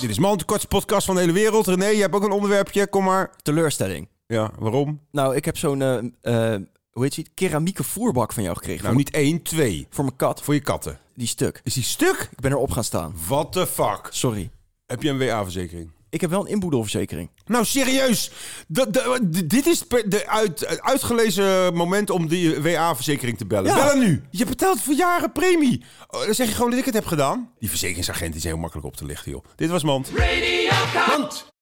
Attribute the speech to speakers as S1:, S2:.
S1: Dit is Man, de kortste podcast van de hele wereld. René, je hebt ook een onderwerpje. Kom maar.
S2: Teleurstelling.
S1: Ja, waarom?
S2: Nou, ik heb zo'n, eh, eh, hoe heet die, keramieke voerbak van jou gekregen.
S1: Nou,
S2: voor,
S1: niet één, twee.
S2: voor mijn kat,
S1: Voor je katten.
S2: die stuk.
S1: Is die stuk?
S2: Ik ben erop gaan staan.
S1: What the fuck?
S2: Sorry.
S1: Heb je een WA-verzekering?
S2: Ik heb wel een inboedelverzekering.
S1: Nou, serieus. Dat- dat- d- dit is per- de uit, uitgelezen moment om die WA-verzekering te bellen.
S2: Ja.
S1: Bellen nu. Je betaalt voor jaren premie. Oh, dan zeg je gewoon dat ik het heb gedaan. Die verzekeringsagent is heel makkelijk op te lichten, joh. Dit was Mand.